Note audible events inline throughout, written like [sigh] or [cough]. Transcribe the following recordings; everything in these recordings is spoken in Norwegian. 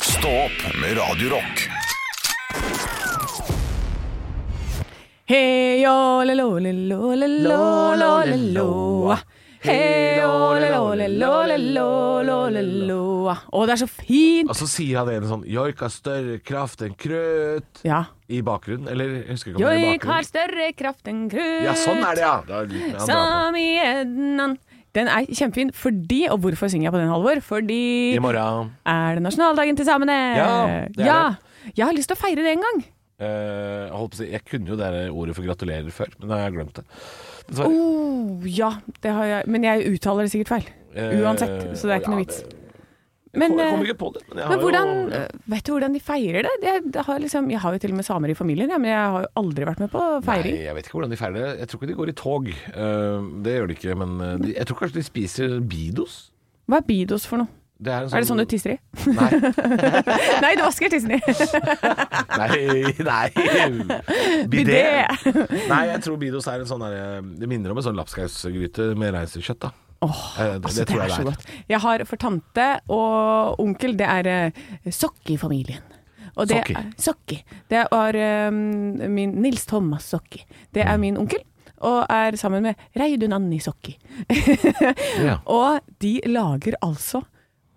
Stå opp med Radio Rock. Hei, å, le, lo, le, lo, le, lo, lo, le, lo. Hei, å, le, lo, le, lo, le, lo, lo, le, lo. Å, det er så fint! Og så sier han en sånn Joik har større kraft enn krøt Ja. I bakgrunnen, eller jeg husker ikke om det er i Joik har bakgrunnen større kraft enn krutt. Ja, sånn er det, ja Da er det litt mer han drar på. Som i Ednan. Den er kjempefin fordi, og hvorfor synger jeg på den, Halvor? Fordi I morgen er det nasjonaldagen til samene. Ja, det er ja. Jeg har lyst til å feire det en gang. eh, jeg holdt på å si, Jeg kunne jo det der ordet for gratulerer før Men da har jeg glemt det Dessverre Oh, ja, det har jeg. Men jeg uttaler det sikkert feil. Eh, Oh, Uansett, så det er ikke ja, noe vits. det- Men, Jeg eh, kom ikke på det Men, jeg har Men hvordan, eh, jo, vet du hvordan de feirer det? Jeg, det har liksom, jeg har jo til og med samer i familien, ja, men jeg har jo aldri vært med på feiring. Nei, jeg vet ikke hvordan de feirer det Jeg tror ikke de går i tog Eh, Det gjør de ikke Men eh, de, jeg tror kanskje de spiser bidos Hva er bidos for noe? det en Er det sånn du [laughs] tisser i? Nei, Nei, du vasker tissen i! nei, [laughs] nei. Bidé! Nei, jeg tror Bidos er en sånn der Det minner om en sånn lapskausgryte med reinsdyrkjøtt, da. Åh, Eh, det- altså, det det tror jeg er så det er. godt. Jeg har for tante og onkel, det er eh, Sokki i familien. Og det Sokki. er, Sokki. Det var eh, min Nils Thomas Sokki. Det Mm. er min onkel, og er sammen med Reidun Anni Sokki. [laughs] Ja. Og de lager altså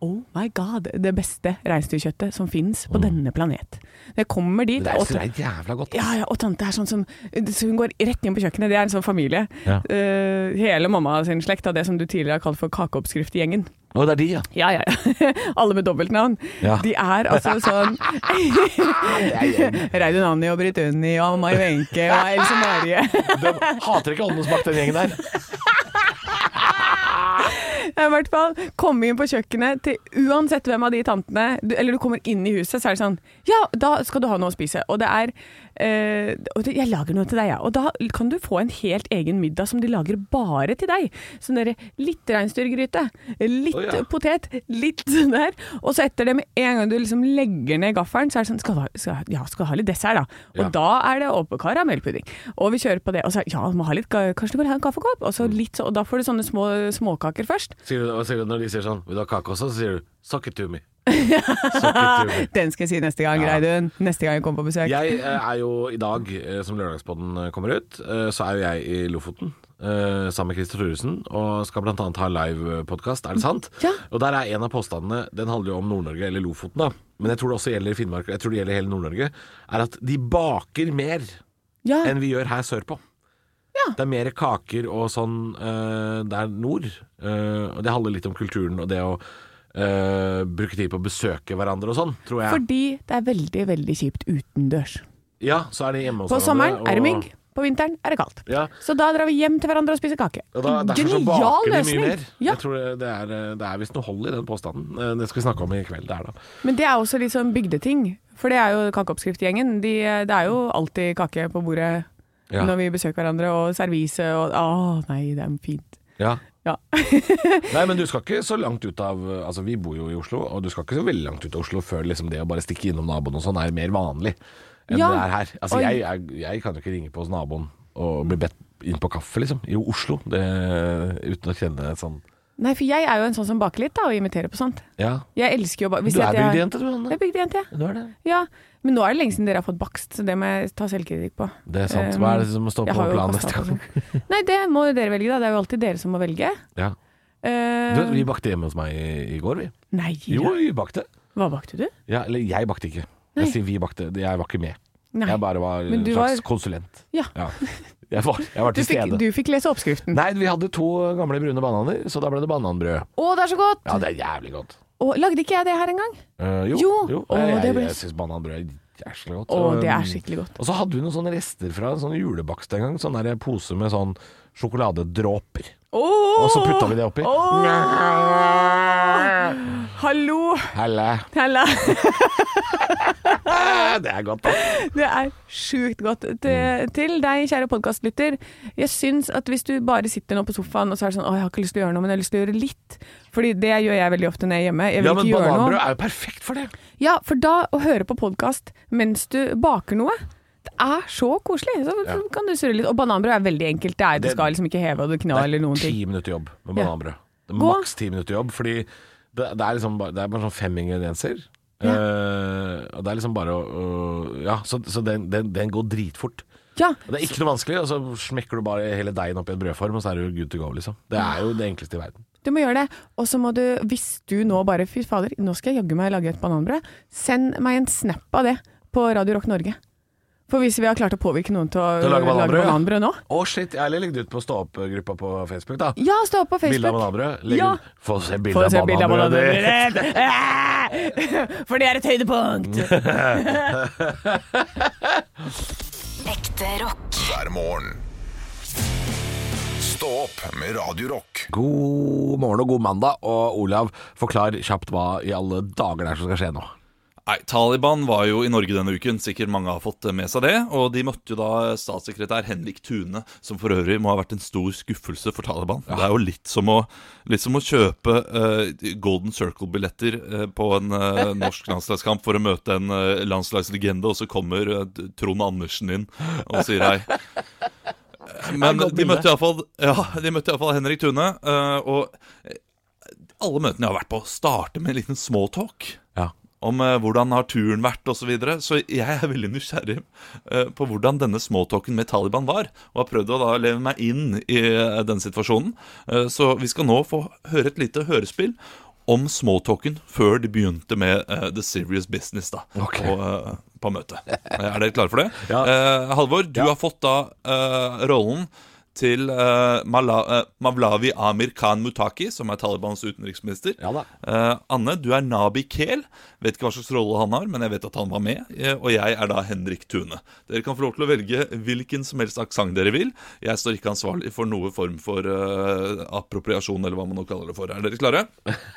Oh my god, det beste reinsdyrkjøttet som finnes på denne planet. Det kommer dit Mm. Det er, og, det er jævla godt. ja, ja, og tante er sånn som så Hun går rett inn på kjøkkenet. Det er en sånn familie. Ja. Eh, hele mamma sin slekt av det som du tidligere har kalt for kakeoppskrift i gjengen. Og det er de, ja. Ja, ja, ja. [laughs] Alle med dobbeltnavn. Ja. De er altså [laughs] sånn Reidun Anni og Britt Unni og Mai Wenche og Else Marie. De hater ikke åndenes makt, den gjengen der. [laughs] I hvert fall, komme inn på kjøkkenet til uansett hvem av de tantene du, Eller du kommer inn i huset, så er det sånn Ja, da skal du ha noe å spise. Og det er eh, og det, Jeg lager noe til deg, ja. Og da kan du få en helt egen middag som de lager bare til deg. Sånn derre litt reinsdyrgryte, litt Å, ja. potet, litt [laughs] sånn der. Og så etter det, med en gang du liksom legger ned gaffelen, så er det sånn Skal, du ha- skal, ja, skal du ha litt dessert, da. Og Ja. da er det oppe karamellpudding. Og vi kjører på det. Og så ja, du må ha litt, ga- kanskje du vil ha en kaffekopp? Og, Mm. så litt, så- og da får du sånne små småkaker først. Sier du, og sier du, når de sier sånn Vil du ha kake også? Så sier du Suck it to [laughs] me. Suck it to me. [laughs] Den skal jeg si neste gang, Ja. Reidun. Neste gang jeg kommer på besøk. Jeg eh, er jo i dag, eh, som Lørdagspodden eh, kommer ut, eh, så er jo jeg i Lofoten. eh, sammen med Christer Thoresen, og skal bl.a. ha livepodkast, er det sant? Ja. Og der er en av påstandene, den handler jo om Nord-Norge, eller Lofoten, da. Men jeg tror det også gjelder Finnmark, og jeg tror det gjelder hele Nord-Norge. Er at de baker mer Ja. enn vi gjør her sørpå. Det er mer kaker og sånn eh, der nord. Eh, og det handler litt om kulturen og det å eh, bruke tid på å besøke hverandre og sånn, tror jeg. Fordi det er veldig, veldig kjipt utendørs. ja, så er de hjemme hos På sommeren hverandre, er det og- mygg, på vinteren er det kaldt. Ja. Så da drar vi hjem til hverandre og spiser kake. Og da, derfor så Genial baker de mye løsning! mer. Ja, Jeg tror det- det er, det er visst noe hold i den påstanden. Eh, Det skal vi snakke om i kveld. Det er da. men det er også litt sånn bygdeting. For det er jo kakeoppskriftgjengen. De, det er jo alltid kake på bordet Ja. når vi besøker hverandre, og servise og Å nei, det er fint. Ja. Ja. [laughs] Nei, men du skal ikke så langt ut av Altså, vi bor jo i Oslo, og du skal ikke så veldig langt ut av Oslo før liksom det å bare stikke innom naboen og sånn er mer vanlig enn Ja. det er her. Altså, Og- jeg, jeg, jeg kan jo ikke ringe på hos naboen og bli bedt inn på kaffe, liksom. I Oslo. Det, uten å kjenne et sånn Nei, for jeg er jo en sånn som baker litt, da, og inviterer på sånt. Ja. Jeg elsker jo ba... Du er bygdejente, du, Jeg Anne. er bygdejente, ja. Du er det. Ja, men nå er det lenge siden dere har fått bakst, så det må jeg ta selvkritikk på. Det er sant. Hva er det som står Jeg på har jo planen kastet neste gang? opp og sånn. Nei, det må jo dere velge, da. Det er jo alltid dere som må velge. Ja. Eh, Du, vi bakte hjemme hos meg i, i går, vi. Nei, Jo, da. vi bakte. hva bakte du? Ja, eller jeg bakte ikke. Nei. Jeg sier vi bakte, jeg var ikke med. Nei. Jeg bare var Men en du slags var- konsulent. Ja. Jeg var, jeg var Du til fikk, stede. Mm. du fikk lese oppskriften. Nei, vi hadde to gamle brune bananer, så da ble det bananbrød. Å, det er så godt! Ja, det er jævlig godt. Og lagde ikke jeg det her engang? Eh, Jo. Å, det jeg, jeg, ble- jeg syns bananbrød er jævlig godt. Å, Og, det er um, skikkelig godt. Og så hadde vi noen sånne rester fra en sånn julebakst en gang. Sånn der pose med sånn sjokoladedråper. Og så putta vi det oppi. Hallo! Helle. Hella. Ah! Eh, Det er godt, da. Det er sjukt godt. Mm. Til, til deg, kjære podkastlytter. Jeg syns at hvis du bare sitter nå på sofaen og så er det sånn Å, jeg har ikke lyst til å gjøre noe, men jeg har lyst til å gjøre litt. Fordi det gjør jeg veldig ofte når jeg er hjemme. Jeg vil Ja, men ikke gjøre bananbrød noe. er jo perfekt for det. Ja, for da å høre på podkast mens du baker noe det er så koselig! Så Ja. kan du surre litt. Og bananbrød er veldig enkelt. Det er, du Det- skal liksom ikke heve og du kna eller noen ting. ti minutter jobb med Ja. bananbrød. Det Gå. er Maks ti minutter jobb, fordi det, det, er liksom bare, det er bare sånn fem ingredienser. Eh, og det er liksom bare å, å Ja, så, så den, den, den går dritfort. Ja, Og Det er ikke noe vanskelig, og så smekker du bare hele deigen opp i en brødform, og så er du good to go, liksom. Det er jo det enkleste i verden. du må gjøre det. Og så må du, hvis du nå bare Fy fader, nå skal jeg jaggu meg lage et bananbrød. Send meg en snap av det på Radio Rock Norge. For hvis vi har klart å påvirke noen til å, Til å lage bananbrød, ja. nå Å shit, jeg har legge det ut på stå opp-gruppa på Facebook, da. Ja, stå opp på Bilde av Facebook. bananbrød. Legg Ja. ut- Få se Få bilde se av bilde av bananbrødet. bananbrødet. Ah! [laughs] For det er et høydepunkt. Mm. Ekte rock. hver morgen. Stå opp med Radio Rock. God morgen og god mandag. Og Olav, forklar kjapt hva i alle dager det er som skal skje nå. Nei, Taliban var jo i Norge denne uken, sikkert mange har fått eh, med seg det. Og de møtte jo da eh, statssekretær Henrik Tune, som for øvrig må ha vært en stor skuffelse for Taliban. Det er jo litt som å, litt som å kjøpe eh, Golden Circle-billetter eh, på en [laughs] eh, norsk landslagskamp for å møte en eh, landslagslegende, og så kommer eh, Trond Andersen inn og sier hei. [laughs] Eh, Men godt de bilde. møtte iallfall ja, de møtte i alle fall Henrik Tune, eh, og alle møtene jeg har vært på, starter med en liten smalltalk Ja. om eh, hvordan har turen vært osv. Så, videre. så jeg er veldig nysgjerrig eh, på hvordan denne smalltalken med Taliban var, og har prøvd å da leve meg inn i eh, den situasjonen. Eh, så vi skal nå få høre et lite hørespill om smalltalken før de begynte med eh, The Serious Business da, Ok. på, eh, på møtet. Er dere klare for det? Ja. Eh, Halvor, du Ja. har fått da eh, rollen til eh, Mala, eh, Mavlavi Amir Khan Mutaki, som er Talibans utenriksminister. Ja da. Eh, Anne, du er Nabi Kel. Vet ikke hva slags rolle han har, men jeg vet at han var med. eh, og jeg er da Henrik Tune. Dere kan få lov til å velge hvilken som helst aksent dere vil. Jeg står ikke ansvarlig for noe form for eh, appropriasjon, eller hva man nå kaller det for. Er dere klare?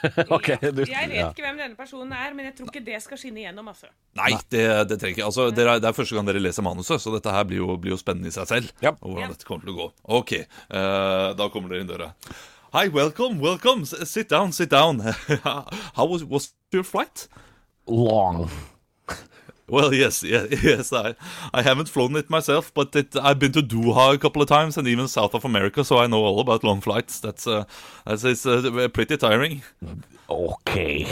Ok, du, Jeg vet ja. ikke hvem denne personen er, men jeg tror ikke det skal skinne igjennom. Altså. Nei, det, det trenger ikke. Altså, dere, er- det er første gang dere leser manuset, så dette her blir jo, blir jo spennende i seg selv. Ja. Og hvordan dette kommer til å gå. Ok, eh, da kommer dere inn døra. Hi, welcome, welcome. S- Sit down, sit down. [laughs] How was, was your flight? Long. Well, yes, yes, [laughs] yes I, I haven't flown it myself, but it, I've been to Doha a couple of times and even south of America, so I know all about long flights. That's uh, that's it's, uh, pretty tiring. [laughs] Ok.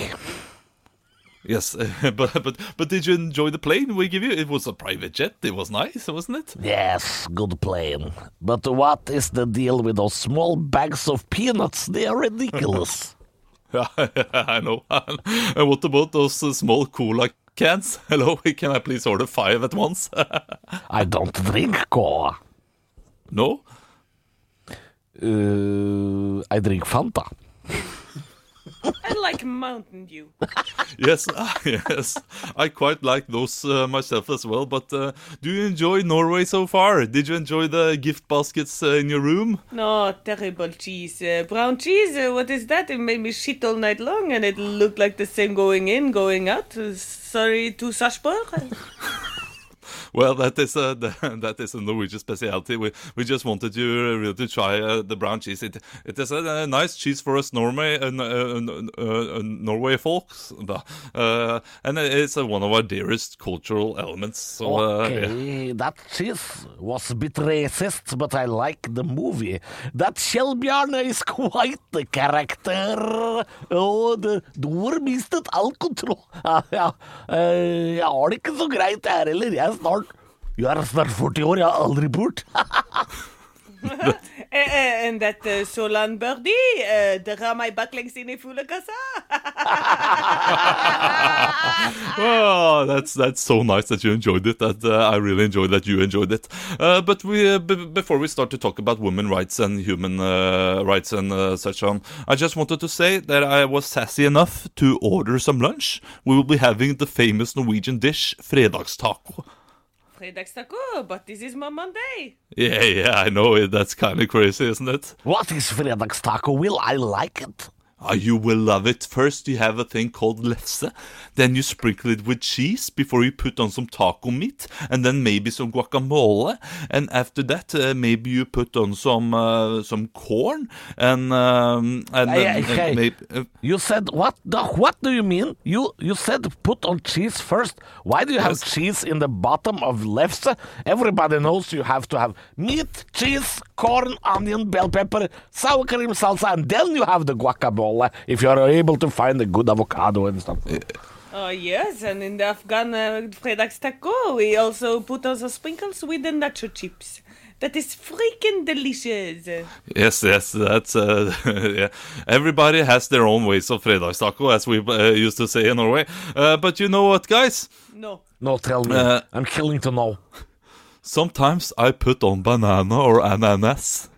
Yes, [laughs] but, but but did you enjoy the plane we give you? It was a private jet. It was nice, wasn't it? [laughs] Yes, good plane. But what is the deal with those small bags of peanuts? They are ridiculous. I know. [laughs] and what about those uh, small cola cans? [laughs] Hello, can I please order five at once? [laughs] I don't drink cola. no. Uh, I drink Fanta. I like Mountain Dew. Yes, [laughs] ah, yes. I quite like those uh, myself as well. But uh, do you enjoy Norway so far? Did you enjoy the gift baskets uh, in your room? No, terrible cheese. Uh, brown cheese, uh, what is that? It made me shit all night long, and it looked like the same going in, going out. Uh, sorry to Sarpsborg. Well, that is a [laughs] that is a Norwegian specialty. We we just wanted you uh, really to try uh, the brown cheese. It it is a, uh, nice cheese for us Norway uh, n- uh, uh, uh, Norway folks, [laughs] da. uh, and it's uh, one of our dearest cultural elements. So, uh, yeah. Okay, eh, that cheese was a bit racist, but I like the movie. That Kjellbjarne is quite the character. Og det, du har mistet all kontroll. Ja, ja. Eh, jeg har det ikke så greit her heller. Jeg er snart, jeg er snart 40 år, jeg har aldri pult. Eh, eh, and that uh, Solan birdie, uh, there are my backlinks in a [laughs] fulakasa. Oh, that's that's so nice that you enjoyed it. That uh, I really enjoyed that you enjoyed it. Uh, but we uh, b- before we start to talk about women rights and human uh, rights and uh, such on, I just wanted to say that I was sassy enough to order some lunch. We will be having the famous Norwegian dish fredagstaco. Fredagstaco, but this is my Monday. Yeah, yeah, I know it. That's kind of crazy, isn't it? [laughs] What is fredagstaco? Will I like it? Ah, you will love it. First, you have a thing called lefse. Then you sprinkle it with cheese before you put on some taco meat, and then maybe some guacamole. And after that, uh, maybe you put on some uh, some corn and um, and Hey, then, hey, hey. maybe. Uh, You said what? The, what do you mean? You you said put on cheese first. Why do you have cheese in the bottom of lefse? Everybody knows you have to have meat, cheese, corn, onion, bell pepper, sour cream, salsa, and then you have the guacamole if you are able to find a good avocado and stuff. Oh, yes, and in the Afghan uh, fredagstaco, we also put also sprinkles with the nacho chips. That is freaking delicious. Yes, yes, that's uh, [laughs] yeah. Everybody has their own ways of fredagstaco, as we uh, used to say in Norway. Uh, but you know what, guys? No. No, tell me. Uh, I'm killing to know. Sometimes I put on banana or ananas.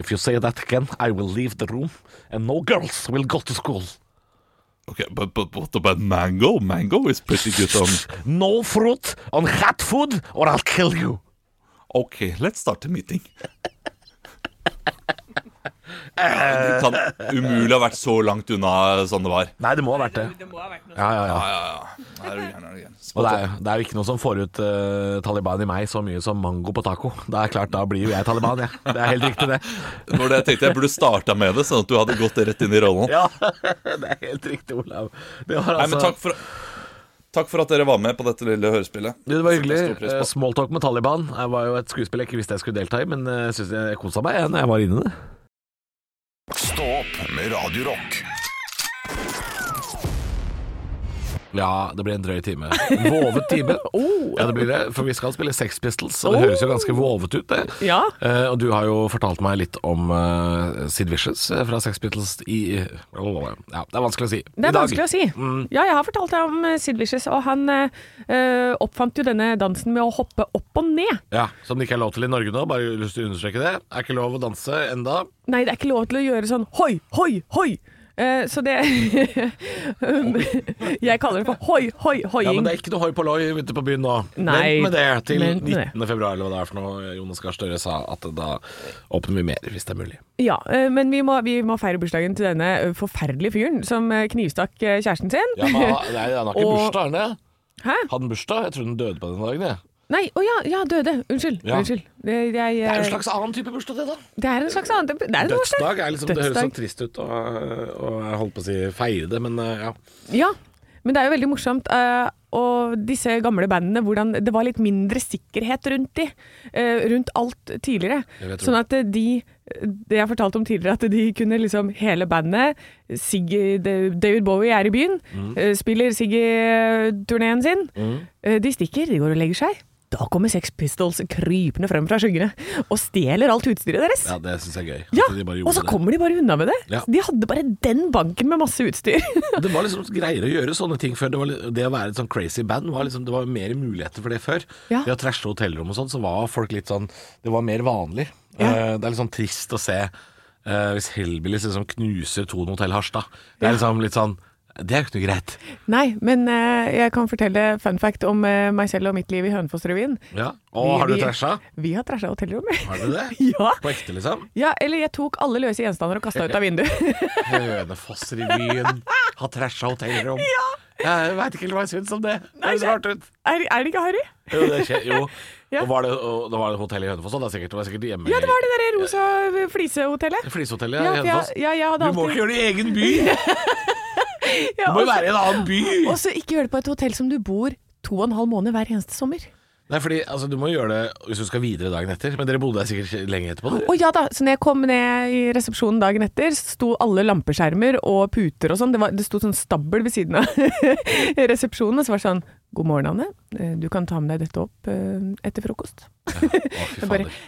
If you say that again, I will leave the room, and no girls will go to school. Okay, but, but what about mango? Mango is pretty [laughs] good on. No fruit on cat food, or I'll kill you. Okay, let's start [laughs] the meeting. Eh. Det kan umulig ha vært så langt unna sånn det var. Nei, det må ha vært det. Det må ha vært noe. Ja, Ah, ja, ja. Er du gæren, er du gæren. Og det er, det er jo ikke noe som får ut eh, Taliban i meg så mye som mango på taco. Det er klart, Da blir jo jeg Taliban, jeg. Det er helt riktig, det. Det var det jeg tenkte jeg burde starta med det, sånn at du hadde gått rett inn i rollen. [laughs] Ja, [laughs] Det er helt riktig, Olav. Det var, Nei, altså, men takk for, takk for at dere var med på dette lille hørespillet. Du, det var hyggelig. Setter jeg stor pris på. Eh, Smalltalk med Taliban Det var jo et skuespill jeg ikke visste jeg skulle delta i, men eh, jeg synes jeg kosa meg jeg, når jeg var inne i det. Stå opp med Radio Rock. Ja, det blir en drøy [laughs] time. En Vovet [laughs] time. Oh, Ja, Oh. det blir det. For vi skal spille Sex Pistols, og det høres jo ganske vovet ut, det. Ja. Eh, og du har jo fortalt meg litt om eh, Sid Vicious eh, fra Sex Pistols i eh, Ja, det er vanskelig å si. Det er vanskelig å si. Mm. Ja, jeg har fortalt deg om eh, Sid Vicious, og han eh, eh, oppfant jo denne dansen med å hoppe opp og ned. Ja, Som det ikke er lov til i Norge nå, bare lyst til å understreke det. Er ikke lov å danse enda. Nei, det er ikke lov til å gjøre sånn hoi, hoi, hoi. Eh, så det um, [laughs] Jeg kaller det for hoi, hoi, Ja, hoiing. Men det er ikke noe hoi polloi ute på byen nå. Nei, Vent med det til vent med det. 19. februar, eller hva det er for noe Jonas Gahr Støre sa, at da åpner vi mer, hvis det er mulig. Ja, eh, men vi må, vi må feire bursdagen til denne eh, forferdelige fyren som eh, knivstakk eh, kjæresten sin. Ja, men, han- nei, han har ikke Og- bursdag, har han det? Hæ? Hadde han bursdag? Jeg trodde han døde på den dagen, jeg. Nei, å ja, ja, døde. Unnskyld. Ja. Unnskyld. Det, jeg, Det er jo eh, en slags annen type bursdag, det, da. det er en slags annen Det er en bursdag. Dødsdag er liksom Det høres Dødsdag. sånn trist ut, og, og jeg holdt på å si feire det, men eh, ja. Ja, men det er jo veldig morsomt. eh, og disse gamle bandene, hvordan det var litt mindre sikkerhet rundt de. eh, rundt alt tidligere. Jeg vet Sånn at eh, de Det jeg fortalte om tidligere, at de kunne liksom hele bandet Siggy, Da- David Bowie er i byen, Mm. eh, spiller Siggy-turneen sin. Eh, de stikker, de går og legger seg. Da kommer Sex Pistols krypende frem fra skyggene og stjeler alt utstyret deres. ja det syns jeg er gøy. Ja, at de bare gjorde og så det. kommer de bare unna med det. Ja. De hadde bare den banken med masse utstyr. Det var liksom greiere å gjøre sånne ting før. Det, var, li- det å være et sånn crazy band var liksom, Det var mer muligheter for det før. Ja. Det å trashe hotellrom og sånn, så var folk litt sånn Det var mer vanlig. Eh, det er litt sånn trist å se eh, hvis Hellbillies liksom knuser Thon hotell Harstad. Det er liksom litt sånn Det er jo ikke noe greit. Nei, men eh, jeg kan fortelle fun fact om eh, meg selv og mitt liv i Hønefoss-revyen. Ja. Å, Vi- har du vi- trasha? Vi har trasha hotellrommet. Har du det? Ja. På ekte, liksom? [laughs] Ja, eller jeg tok alle løse gjenstander og kasta ut av vinduet. [laughs] Hønefoss-revyen har trasha [laughs] hotellrom. Jeg veit ikke helt hva jeg syns om det. Det høres rart ut. Er, er det ikke harry? Jo, det skjer, jo. Ja. Og var det, og, da var det hotell i Hønefoss, og det er sikkert, det var sikkert hjemme Ja, det var det derre rosa eh, flisehotellet. Flisehotellet Ja, i for Hønefoss. jeg, ja, jeg hadde Du må ikke alltid gjøre det i egen [laughs] by! ja, Du også- må jo være i en annen [laughs] by! Også ikke gjøre det på et hotell som du bor to og en halv måned hver eneste sommer. Nei, fordi altså, Du må gjøre det hvis du skal videre dagen etter, men dere bodde der sikkert lenge etterpå? dere. Å ja da, så når jeg kom ned i resepsjonen dagen etter, så sto alle lampeskjermer og puter og sånn. Det, var- det sto sånn stabbel ved siden av [laughs] resepsjonen, og så var det sånn God morgen, Anne. Eh, Du kan ta med deg dette opp eh, etter frokost. Å, fy [laughs] Jeg bare- fader.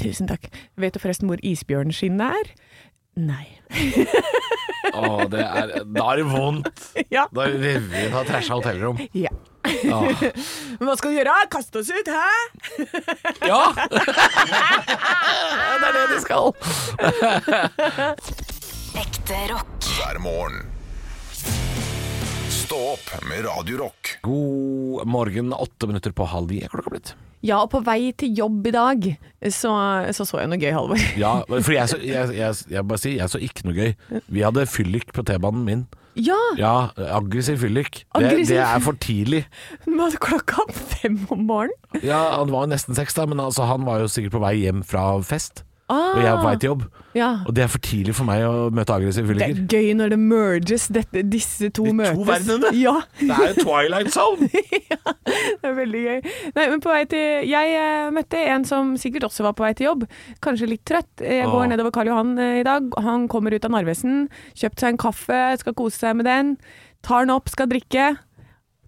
Tusen takk. Vet du forresten hvor isbjørnskinnet er? Nei. [laughs] Å, det er, da er det vondt! Ja. Da er revyen har trasha hotellrom. ja. Åh. Men hva skal vi gjøre? Kaste oss ut, hæ? Ja! det er det de skal. Ekte rock. hver morgen. Stå opp med Radio Rock. God morgen, åtte minutter på halv ni er klokka blitt. Ja, og på vei til jobb i dag så så, så jeg noe gøy, Halvor. Ja, for jeg så, jeg, jeg, jeg bare sier, jeg så ikke noe gøy. Vi hadde fyllik på T-banen min. Ja, Ja, aggressiv fyllik. Det, Aggressiv? det er for tidlig. men altså, klokka fem om morgenen. Ja, Han var jo nesten seks, da, men altså, han var jo sikkert på vei hjem fra fest. Ah. Og jeg er på vei til jobb. Ja. Og det er for tidlig for meg å møte aggressive Det er fylliker. gøy når det merges, dette, disse to De to møtes. verdenene. [laughs] Ja, Det er jo Twilight Zone! det er veldig gøy. Nei, men på vei til Jeg eh, møtte en som sikkert også var på vei til jobb. Kanskje litt trøtt. Jeg går Åh. nedover Karl Johan eh, i dag. Han kommer ut av Narvesen, kjøpt seg en kaffe, skal kose seg med den. tar den opp, skal drikke.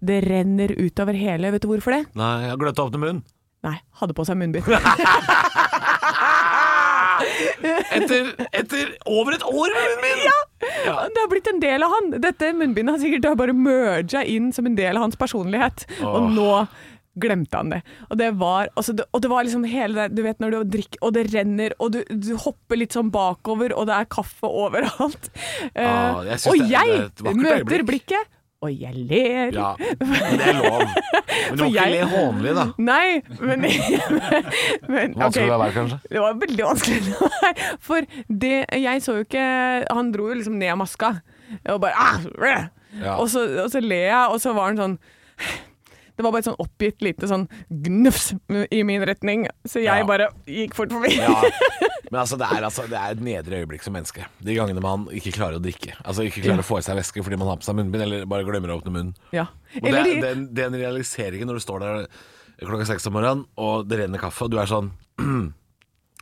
Det renner utover hele. Vet du hvorfor det? [laughs] Nei, jeg har gløtta opp til munnen. Nei, hadde på seg munnbind. Etter, etter over et år med munnen min! Ja. Det har blitt en del av han. Dette munnbindet har sikkert da bare merga inn som en del av hans personlighet. Og nå glemte han det. Og det var, altså, det, og det var liksom hele det Du vet når du drikker, og det renner, og du, du hopper litt sånn bakover, og det er kaffe overalt. Eh, Ah, jeg synes og det- det jeg er et vakkert møter øyeblikk. blikket, og jeg ler. Ja, men det er lov. Men du må For ikke jeg- le hånlig, da. Nei, men, men ok. Vanskelig å la være, kanskje? Det var veldig vanskelig. å la være, For det, jeg så jo ikke Han dro jo liksom ned av maska. Og bare ah, øh. Ja. og, så, og så ler jeg, og så var han sånn Det var bare et sånn oppgitt lite sånn gnufs i min retning. Så jeg Ja. bare gikk fort forbi. Ja. Men altså, det er, altså, det er et nedre øyeblikk som menneske. De gangene man ikke klarer å drikke. Altså ikke klarer å få i seg væske fordi man har på seg munnbind, eller bare glemmer å åpne munnen. [laughs] Ja. Og det, Eller er- de- den, den realiseringen når du står der klokka seks om morgenen, og det renner kaffe, og du er sånn [clears throat]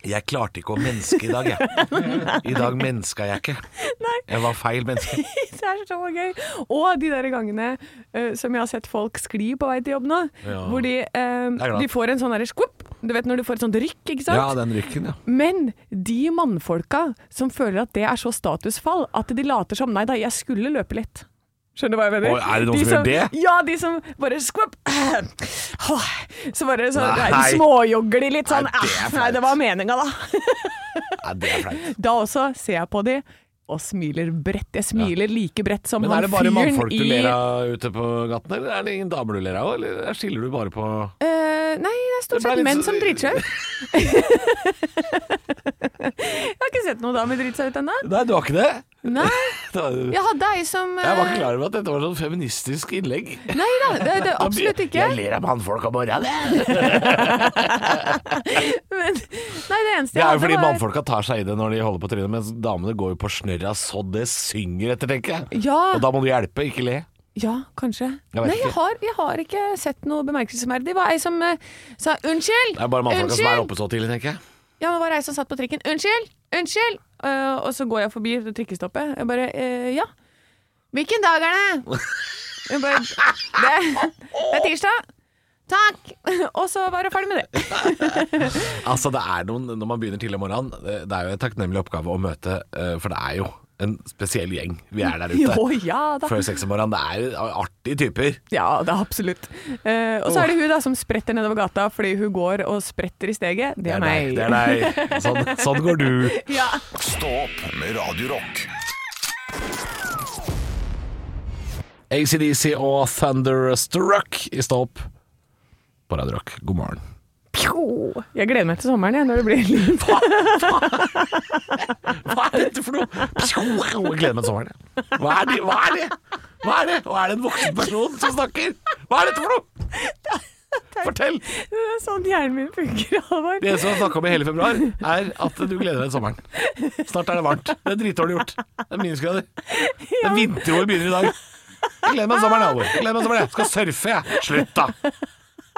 Jeg klarte ikke å menneske i dag, jeg. I dag menneska [laughs] jeg ikke. Jeg var feil menneske. [laughs] Det er så gøy. Og de der gangene eh, som jeg har sett folk skli på vei til jobb nå, Ja. hvor de, eh, er glad. de får en sånn derre skvupp. Du vet når du får et sånt rykk, ikke sant? Ja, den rykken, ja. Men de mannfolka som føler at det er så statusfall at de later som Nei da, jeg skulle løpe litt. Skjønner du hva jeg mener? Oi, er det noen som gjør det? Ja, de som bare skvapp Åh, Så bare så, nei, Nei. småjogger de litt sånn. Nei, det er «Ah, Nei, flaut. det var meninga, da. Nei, det er flaut. Da også ser jeg på de og smiler bredt. Jeg smiler like bredt som Men han er det bare fyren mannfolk du i ler av ute på gaten, eller er det ingen damer du ler av? Eller skiller du bare på Eh, nei, det er Det stort ble sett litt menn så- som driter seg ut. [laughs] jeg har ikke sett noen damer drite seg ut ennå. Nei, du har ikke [laughs] det? Nei, Det var- jeg hadde ei som Jeg var ikke eh, klar over at dette var sånn feministisk innlegg. Nei da, det, det, absolutt ikke. Jeg ler av mannfolk om morgenen. jeg. [laughs] Men, nei, det eneste Det jeg er jo hadde fordi var- mannfolka tar seg i det når de holder på trynet, mens damene går jo på snørra så det synger etter, tenker jeg. Og Ja, da må du hjelpe, ikke le. ja kanskje. Jeg vet nei, jeg ikke. har, jeg har ikke sett noe bemerkelsesverdig. Det var ei som eh, sa 'unnskyld', Det er bare mannfolka som er unnskyld. oppe så tidlig, tenker jeg. Ja, men det var ei som satt på trikken. 'Unnskyld, unnskyld'. Eh, og så går jeg forbi det trikkestoppet. Jeg bare eh, 'ja'. 'Hvilken dag er det?' Jeg bare, det, det er tirsdag. Takk! [laughs] Og så var det ferdig [laughs] med det. Altså, det er noen Når man begynner tidlig om morgenen, det det er jo en takknemlig oppgave å møte, eh, for det er jo en spesiell gjeng vi er der [laughs] ute. Jo, ja da. Før seks om morgenen. Det er artige typer. Ja, det er absolutt. Eh, og så er det hun da som spretter nedover gata fordi hun går og spretter i steget. Det er meg. Det er deg. Sånn, sånn går du. [laughs] Ja. Stå opp med Radio Rock. ACDC og Thunderstruck i Stå opp på Radio Rock. God morgen. Pjo! Jeg gleder meg til sommeren, jeg, når det blir lyn. Hva er dette for noe? Pjo, Jeg gleder meg til sommeren. jeg. Hva er det? Hva er det? Hva er det? Og er det en voksen person som snakker? Hva er dette for noe? Fortell! [laughs] Det er sånn hjernen min funker, Halvor. Det som jeg har snakka om i hele februar, er at du gleder deg til sommeren. Snart er det varmt. Det er dritdårlig gjort. Det er minusgrader. Det er vinterår begynner i dag. Jeg gleder meg til sommeren, Halvor. Jeg gleder meg til sommeren. Jeg skal surfe, jeg. Slutt, da.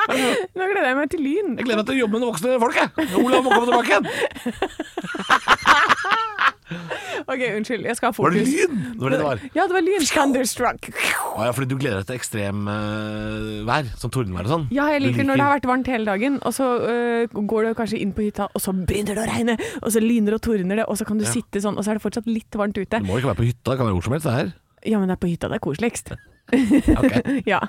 Nå gleder jeg meg til lyn. Jeg gleder meg til å jobbe med voksne folk, jeg. Olav må komme tilbake igjen. Ok, unnskyld. Jeg skal ha Var det fokus. lyn? Det var det det var. Ja, det var lyn. Thunderstruck. Å ja, fordi du gleder deg til ekstrem eh, vær, som tordenvær og sånn. Ja, jeg Du liker når det har vært varmt hele dagen, og så øh, går du kanskje inn på hytta, og så begynner det å regne, og så lyner og tordner det, og så kan du sitte sånn, og så er det fortsatt litt varmt ute. Det må jo ikke være på hytta, det kan være hvor som helst, det her. Ja, men det er på hytta det er koseligst. [laughs] Ok. [laughs] ja.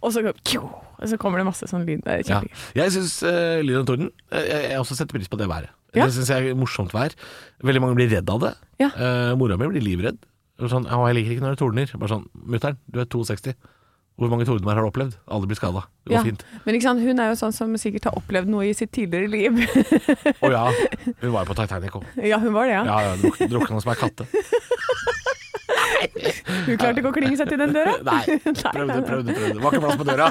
Og så, går- kjo, og så kommer det masse sånn lyd. Det er Ja. kjempegøy. Jeg syns uh, lyn og torden eh, Jeg, jeg også setter pris på det været. Ja. Det syns jeg er morsomt vær. Veldig mange blir redd av det. Ja. Eh, mora mi blir livredd. Hun er Sånn, å, 'Jeg liker ikke når det tordner.' Bare sånn 'Mutter'n, du er 62. Hvor mange tordenvær har du opplevd?' Alle blir skada. Det går Ja. fint. Men ikke sant, hun er jo sånn som sikkert har opplevd noe i sitt tidligere liv. [laughs] Å ja, hun var jo på Titanic òg. ja, hun var det, ja. Ja, ja, druk, drukna som ei katte. Hun klarte ikke å klinge seg til den [laughs] døra. [laughs] Nei, prøvde, prøvde, prøvde. Var ikke plass på døra.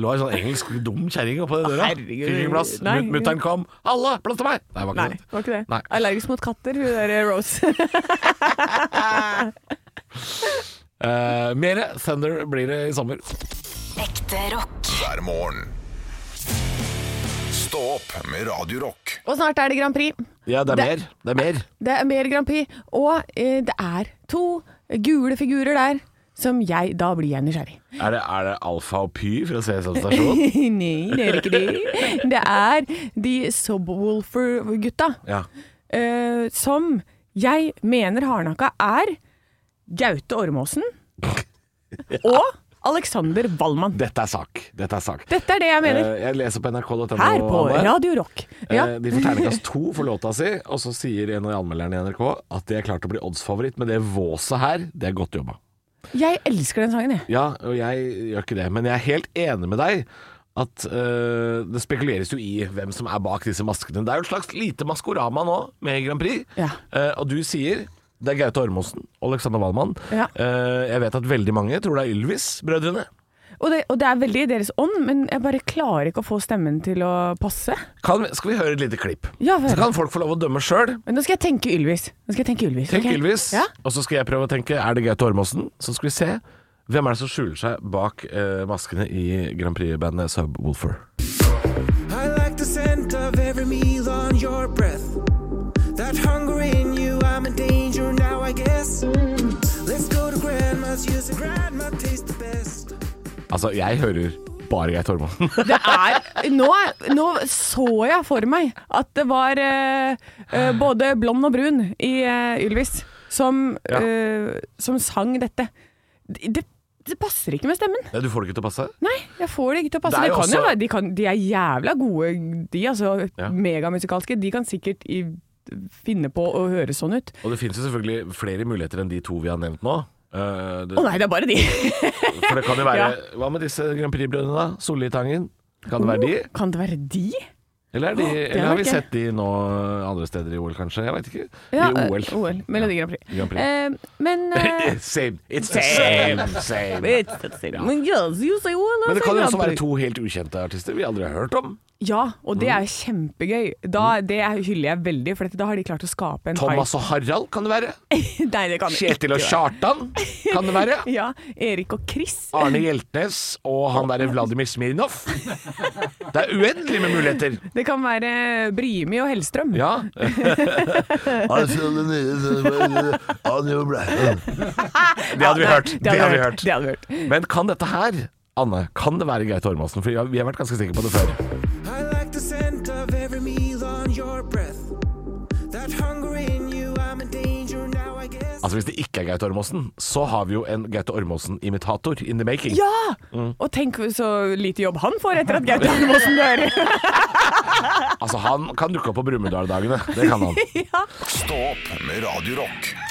Lå ei sånn engelsk dum kjerring oppå den døra. Fikk Herregud. ikke plass. Nei. Mut- Mutter'n kom. 'Halla, plass til meg!' Nei, det var Nei, ikke sant. var ikke det. Nei. Allergisk mot katter, hun der eh, Rose. [laughs] Uh, Mere Thunder blir det i sommer. Ekte rock. hver morgen. Stå opp med Radio Rock. Og snart er det Grand Prix. Ja, det er Det- mer. Det er mer. Det er mer Grand Prix, og eh, det er to gule figurer der som jeg Da blir jeg nysgjerrig. [laughs] Er det, er det alfa og py fra Sesam stasjon? Nei, det er ikke de. Det er de Subwoolfer-gutta Ja. eh, som jeg mener hardnakka er Gaute [laughs] Ormåsen og Alexander Wallmann. Dette er sak. Dette er sak. Dette er det jeg mener. Eh, Jeg leser på nrk.no. Her på Anne. Radio Rock. Ja. Eh, De får terningkast to for låta si, og så sier en av anmelderne i NRK at de er klart å bli oddsfavoritt, men det våset her, det er godt jobba. Jeg elsker den sangen, jeg. Ja, og jeg gjør ikke det, men jeg er helt enig med deg at eh, det spekuleres jo i hvem som er bak disse maskene. Det er jo et slags lite Maskorama nå med Grand Prix, Ja. Eh, og du sier det er Gaute Ormåsen og Alexander Wallmann. Ja. Eh, jeg vet at veldig mange tror det er Ylvis-brødrene. Og det, og det er veldig i deres ånd, men jeg bare klarer ikke å få stemmen til å passe. Kan, skal vi høre et lite klipp? Ja, vel. Så kan folk få lov å dømme sjøl. Men nå skal jeg tenke Ylvis. Nå skal jeg tenke Ylvis. Tenk ok? Ylvis, Ja? og så skal jeg prøve å tenke Er det Gaute Ormåsen? Så skal vi se hvem er det som skjuler seg bak eh, maskene i Grand Prix-bandet Subwoolfer. I like the scent of every meal on your breath. That hunger in you, I'm in danger now, I guess. Let's go to grandma's, use the grandma tastes the best. Altså, jeg hører bare Geir Tormonsen. Det er nå, nå så jeg for meg at det var eh, eh, både blond og brun i eh, Ylvis som, Ja. eh, som sang dette. Det, det passer ikke med stemmen. du får det ikke til å passe? Nei, jeg får det ikke til å passe. Det er Det jo kan jo også- være, de, kan, de er jævla gode, de. Altså Ja. megamusikalske. De kan sikkert i, finne på å høre sånn ut. Og det finnes jo selvfølgelig flere muligheter enn de to vi har nevnt nå. Eh, det, Å nei, det er bare de! For det kan jo være Hva med disse Grand Prix-brødrene, da? Solli Tangen? Kan det være de? [laughs] Kan det være de? Eller, er de, er eller har vi nok gøy. sett de nå eh, andre steder i OL, kanskje? Jeg veit ikke. Ja, I eh, OL. OL. Melodi Grand Prix. Grand Prix. Eh, men [laughs] eh, Same. It's the same. same. it's the same. yes, you say well, I Men det say kan jo Grand også Prix. være to helt ukjente artister vi aldri har hørt om. Ja, og Mm. det er kjempegøy. Da, det hyller jeg veldig, for da har de klart å skape en Thomas og Harald kan det være. hype. [laughs] Nei, det kan de ikke Kjetil og være. Kjartan kan det [laughs] være. Ja, Erik og Chris. Arne Hjeltnes og han derre Vladimir Smirnov. [laughs] Det er uendelig med muligheter. Det kan være Brimi og Hellstrøm. Ja. Det hadde vi hørt. Nei, Det hadde vi hørt. Mm. Det hadde vi hørt. Men kan dette her, Anne, kan det være Gaute Ormåsen? For vi har- vi har vært ganske sikre på det før. I like the scent of every meal on your breath. That hunger in you, I'm in danger now, I guess. Altså Hvis det ikke er Gaute Ormåsen, så har vi jo en Gaute Ormåsen-imitator in the making. Ja! Mm. Og tenk så lite jobb han får etter [laughs] at Gaute Ormåsen dør. Altså Han kan dukke opp på Brumunddal-dagene. Det kan han. ja. Stå opp med Radio Rock.